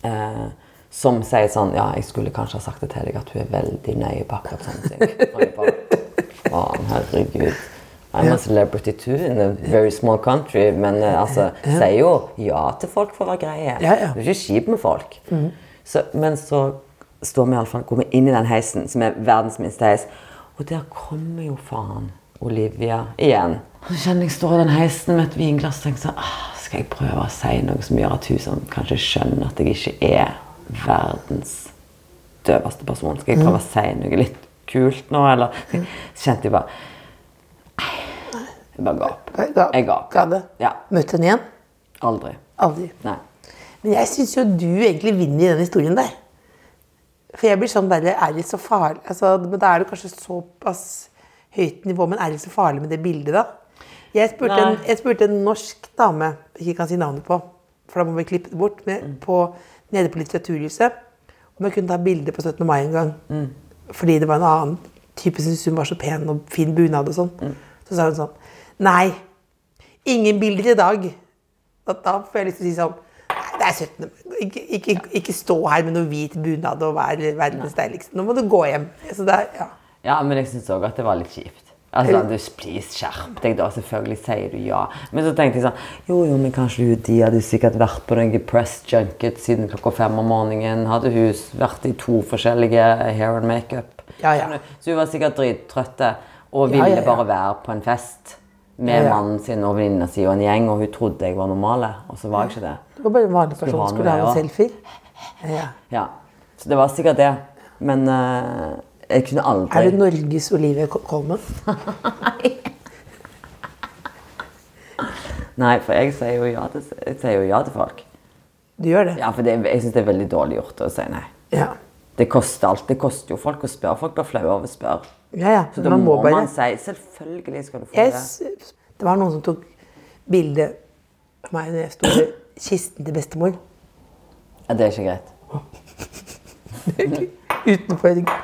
Eh, som sier sånn Ja, jeg skulle kanskje ha sagt det til deg at hun er veldig nøye på akkurat sånne ting. Og jeg bare, Faen, herregud. I'm a celebrity too in a very small country. Men eh, altså, sier jo ja til folk for å være greie. Ja, ja. Du er ikke kjip med folk. Så, men så står vi i alle fall, går vi inn i den heisen, som er verdens minste heis. Og der kommer jo faen Olivia igjen. Og så kjenner jeg står i den heisen med et vinglass og tenker sånn «Ah, Skal jeg prøve å si noe som gjør at hun sånn, kanskje skjønner at jeg ikke er verdens døveste person? Skal jeg prøve å si noe litt kult nå, eller? Så kjente jeg bare «Nei, Jeg bare ga opp. Jeg ga- Jeg ga opp. ga det. Ja. Møtte henne igjen? Aldri. Aldri. Nei. Men jeg syns jo du egentlig vinner i den historien der. For jeg blir sånn der, er det så farlig? Altså, men da er du kanskje såpass høyt nivå, men er det så farlig med det bildet, da? Jeg spurte, en, Nei. jeg spurte en norsk dame, jeg ikke kan si navnet på, for da må vi klippe det bort, men på, nede på Litteraturhuset, om jeg kunne ta bilde på 17. mai en gang. Fordi det var en annen type som syntes hun var så pen og fin bunad og sånn. Så sa hun sånn Nei, ingen bilder i dag. Da, da får jeg lyst til å si sånn Nei, det er 17. mai. Ikke, ikke, ikke stå her med noe hvit bunad og være verdens deiligste. Nå må du gå hjem. Så det er, ja. Ja, men jeg syns òg at det var litt kjipt. Altså, du, please, skjerp deg, da. Selvfølgelig sier du ja. Men så tenkte jeg sånn Jo, jo, men kanskje hun de hadde sikkert vært på noen press junket siden klokka fem om morgenen. Hadde hun s- vært i to forskjellige hair and makeup. Ja, ja. Skjønner du? Så hun var sikkert drittrøtt og Ja, ville ja, ja. bare være på en fest med Ja, ja. mannen sin og venninna si og en gjeng, og hun trodde jeg var normal, og så var jeg ikke det. Det var bare en vanlig person som skulle ha noen ja. selfier. Ja. Ja. Så det var sikkert det. Men eh, jeg kunne aldri Er du Norges Olivia Kol- Colman? Nei, for jeg sier jo ja til, jeg sier jo ja til folk. Du gjør det? Ja, for det, jeg syns det er veldig dårlig gjort å si nei. Ja. Det koster alt. Det koster jo folk å spørre. Folk blir flaue over å spørre. Ja, ja. Så da Man må, må bare man si selvfølgelig skal du få jeg, s- Det var noen som tok bilde av meg når jeg sto <clears throat> ved kisten til bestemor. det. Ja, det er ikke greit. Utenfor,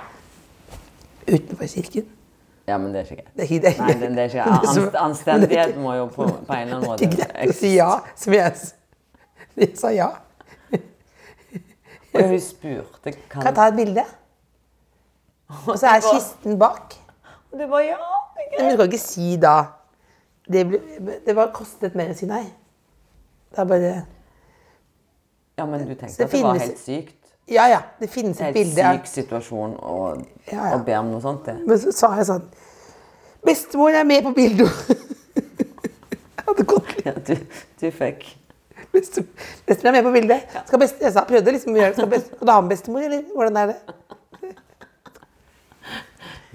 utenfor kirken. Ja, men det er ikke greit. Det er ikke det. Nei, det, det er ikke <laughs> greit. Anst, anstendighet må jo på, på en eller annen Det er måte greit å si ja, som jeg s- Jeg sa ja. Og hun spurte Kan jeg ta et bilde? Og så er kisten bak. Det var ja. det er greit. Men du kan ikke si da Det, ble, det var kostet mer å si nei. Det er bare Ja, men du Så tenkte det at det var finnes- helt sykt. Ja ja, det finnes et Helt bilde. syk situasjon å Ja, ja. å be om noe sånt. Det. Men så sa jeg sånn Bestemor er med på bildet! <laughs> Jeg hadde gått litt. Ja, du, du fikk Beste- Bestemor er med på bildet. Skal best, jeg sa, prøvde liksom å gjøre det. Skal, best, skal du ha med bestemor, eller hvordan er det?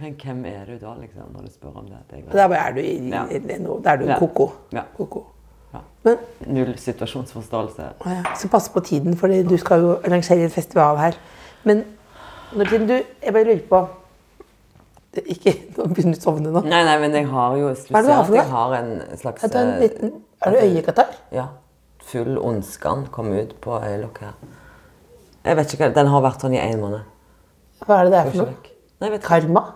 Men hvem er du da, liksom, når du spør om det? det er Og Da er du, i, Ja. i- i- nå- da er du Ja. koko. Ja. koko. Ja. Men, Null situasjonsforståelse. å ja, så pass på tiden, for du skal jo arrangere en festival her. Men når tiden du Jeg bare lurer på det, Ikke <laughs> Nå begynner du å sovne nå. Nei, nei, men jeg har jo Du Hva er det du ser har at for jeg noe? har en slags Er du, en eh, liten, er du øyekatarr? Ja. Full ondskan kom ut på øyelokket her. Jeg vet ikke hva Den har vært sånn i én måned. Hva er det det er Går for ikke noe? vekk. Nei, jeg vet ikke. Karma?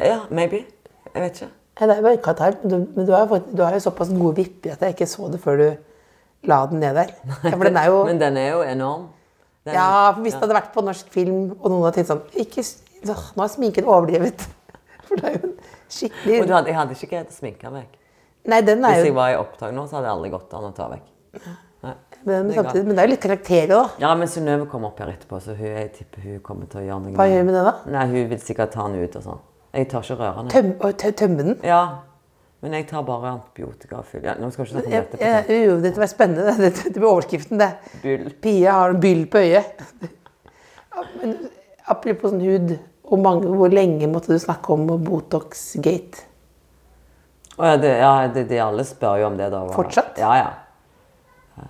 Ja, maybe. Jeg vet ikke. Nei, det er jo øyekatarr, men, du, men du, har jo fått, du har jo såpass gode vipper at jeg ikke så det før du la den ned der. Ja, for den er jo... Men den er jo enorm. Den- Ja, for hvis det hadde vært på norsk film, og noen hadde tenkt sånn ikke, s- åh, Nå er sminken overdrevet. <laughs> For det er jo en Og du skikkelig hadde, jeg hadde ikke greid å sminke meg. Nei, den er Hvis jeg jo var i opptak nå, så hadde det aldri gått an å ta vekk. Nei. men, det er samtidig, men det er jo litt karakterer, da. Ja, men Synnøve kom opp her etterpå, så hun, jeg tipper hun kommer til å gjøre noe Hva gjør vi med med den, da? det. Nei, hun vil sikkert ta den ut og sånn. Jeg tør ikke røre den. Tøm, å, tø, tømme den? Ja, men jeg tar bare antibiotika og fyll. Ja, nå skal vi ikke snakke om Jeg, dette. på jeg, jo, dette var spennende. det- <laughs> Dette, dette blir overskriften, det. Byll. Pia har en byll på øyet. <laughs> Ja, men Apropos sånn hud. Hvor, mange, hvor lenge måtte du snakke om Botox-gate? Å, ja, det, ja det, de alle spør jo om det da. hva- Fortsatt? Ja, ja. Ja,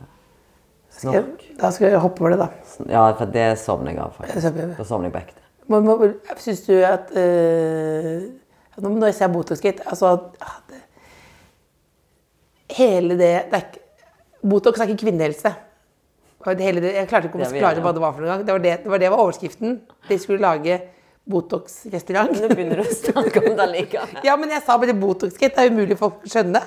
Snakk. Da skal jeg hoppe over det, da. Ja, for det sovner jeg av, Jeg sovner. faktisk. Da sovner jeg på ekte. Man må, synes du at øh, nå- Når jeg ser Botox-gate altså, at- at Hele det, det er ikke, Botox er ikke kvinnehelse. Og det Hele det, jeg klarte ikke å Det er vi enige forklare om. hva det var for noen gang. Det var det, det var det var overskriften. De skulle lage Botox-restaurant. Nå begynner du å snakke om det likevel. <laughs> Ja, men jeg sa bare Botox-gate. Det er umulig for folk å skjønne.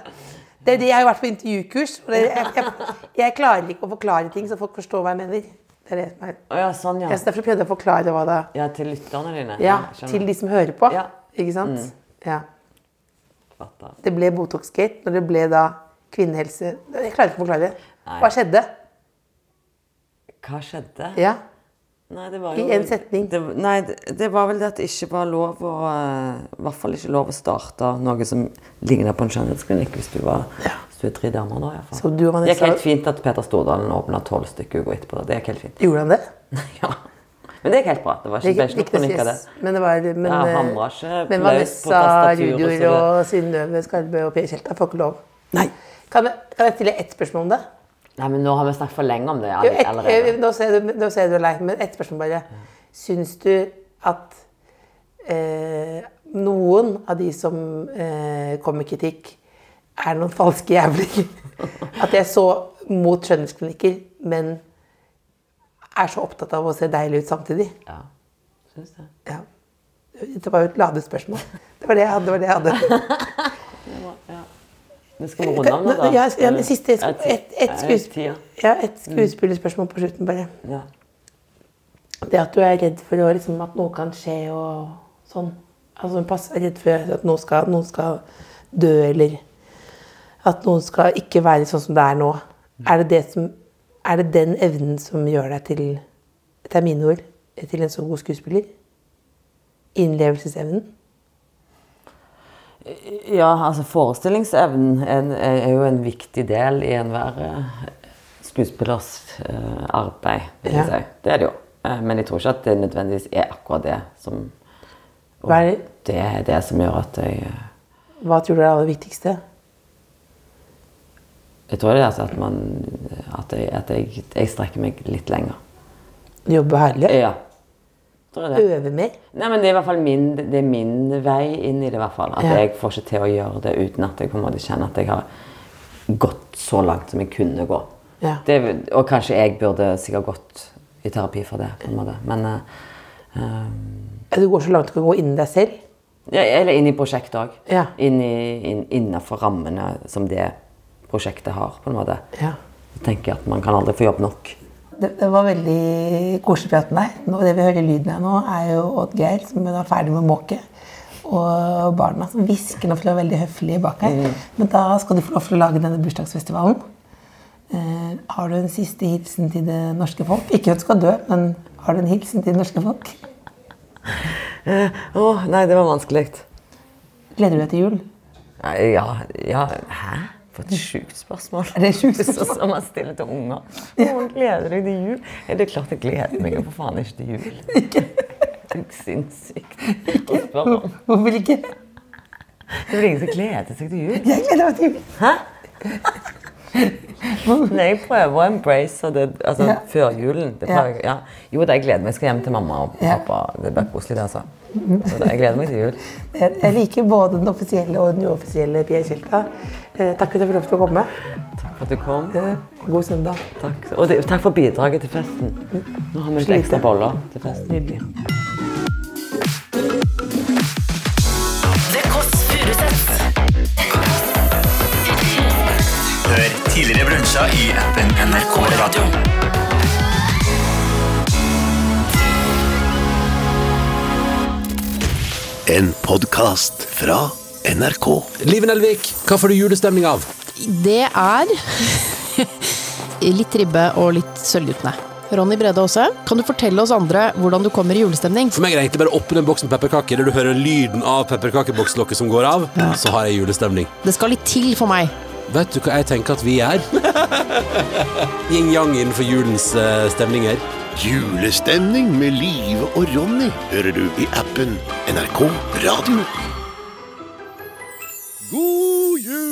Det er det jeg har vært på intervjukurs. Og det, jeg, jeg, jeg klarer ikke å forklare ting så folk forstår hva jeg mener. Det er det som er. Å ja, sånn, ja. Jeg, så derfor prøvde jeg å forklare hva det er. Ja, til lytterne dine. Ja, skjønner. til de som hører på. Ja. Mm. Ikke sant? Ja. Fatter. Det ble Botox-gate når det ble da kvinnehelse Jeg klarer ikke å forklare det. Nei. Hva skjedde? Hva skjedde? Ja. Nei, det var I jo, en setning. Det, nei, det, det var vel det at det ikke var lov å eh, I hvert fall ikke lov å starte noe som lignet på en skjønnhetsklinikk hvis du var hvis du er tre damer. da i hvert fall. Så du og Det gikk Vanessa- helt fint at Peter Stordalen åpna tolv stykker uker etterpå. da. Det gikk helt fint. Gjorde han det? <laughs> ja. Men det gikk helt bra. Det var ikke, ble ikke noe kronikk av det. Men det var men, Ja, eh, hamra ikke men applaus på Vanessa tastaturet, Rudior så det- og Synnøve Skarbø og Per Kjelta får ikke lov. Nei. Kan jeg, kan jeg stille ett spørsmål om det? nei, men nå har vi snakket for lenge om det Jo, all- ett- allerede. eh, nå, ser du, nå ser du lei, men ett spørsmål bare. Syns du at eh, noen av de som eh, kom med kritikk, er noen falske jævler? <laughs> At jeg så mot skjønnhetsklinikker, men er så opptatt av å se deilig ut samtidig? Ja. Syns det. Ja. Det var jo et ladespørsmål. Det var det jeg hadde. Det var det jeg hadde. Men skal vi runde om det, da? Nå- ja, ja, men siste Er sku- det ti- et, et, er det skuesp- ti, ja? ja, et skuespillerspørsmål på slutten, bare. Ja. Det at du er redd for å, liksom, at noe kan skje og sånn. Altså, pass, er redd for at noen skal, noen skal dø, eller at noen skal ikke være sånn som det er nå. Er det, det som, er det den evnen som gjør deg til, etter mine ord, til en så god skuespiller? Innlevelsesevnen? Ja, altså forestillingsevnen er, er jo en viktig del i enhver eh, skuespillers eh, arbeid, vil jeg Ja. si. Det er det jo. Eh, men jeg tror ikke at det nødvendigvis er akkurat det som og Hva er det? det er det som gjør at jeg eh, Hva tror du er det aller viktigste? Jeg tror det er altså at man At jeg, at jeg, jeg strekker meg litt lenger. Jobbe herlig? <laughs> Ja. Tror jeg det. Øve mer? Nei, men det er i hvert fall min, det er min vei inn i det. i hvert fall. At Ja. jeg får ikke til å gjøre det uten at jeg på en måte kjenner at jeg har gått så langt som jeg kunne gå. Ja. Det, og kanskje jeg burde sikkert gått i terapi for det. på en måte. Men eh, Du går så langt du kan gå innen deg selv? ja, Eller inn i prosjektet òg. Ja. Inn, Innafor rammene som det prosjektet har. på en måte. Ja. Jeg tenker at Man kan aldri få jobb nok. Det, det var veldig koselig prat med deg. Nå, det vi hører lyden av nå, er jo Odd Geir som er ferdig med måke. Og barna som hvisker nå, for de er veldig høflige bak her. Men da skal du få lov til å lage denne bursdagsfestivalen. Eh, har du en siste hilsen til det norske folk? Ikke at du skal dø, men har du en hilsen til det norske folk? Å, nei, det var vanskelig. Gleder du deg til jul? Nei, Ja, ja Hæ? For et sjukt spørsmål. Det er sjukt spørsmål <laughs> som man stiller til unger. Hvordan gleder du deg til jul? Ja, det er klart jeg gleder meg jo for faen <laughs> ikke til jul. Det er sinnssykt å spørre om. Hvorfor ikke? Det er vel ingen som gleder seg til jul. Jeg gleder meg til jul. Hæ? Men jeg prøver å embrace det altså, Ja. før julen. Det prøver, jeg- ja. Jo da, jeg gleder meg. Jeg skal hjem til mamma og Ja. pappa. Det blir koselig, det, altså. Så da, Jeg gleder meg til jul. Jeg jeg liker både den offisielle og den uoffisielle Pia Kjelta. Eh, takk for at jeg fikk lov til å komme. Takk for at du kom. 네, Eh, god søndag. Takk. Og det, takk for bidraget til festen. Nå har vi litt ekstra boller til festen. 네, Nydelig. The Kåss Furuseths. Hør tidligere brunsja i appen NRK Radio. En podkast fra NRK. Liv Nelvik, hva får du julestemning av? Det er <laughs> litt ribbe og litt sølvguttene. Ronny Brede Aase, kan du fortelle oss andre hvordan du kommer i julestemning? For meg er det egentlig bare å åpne en boks med pepperkaker, der du hører lyden av pepperkakebokslokket som går av, så har jeg julestemning. Det skal litt til for meg. Vet du hva jeg tenker at vi er? Yin-yang innenfor julens eh, stemninger. Julestemning med Live og Ronny hører du i appen NRK Radio. God jul!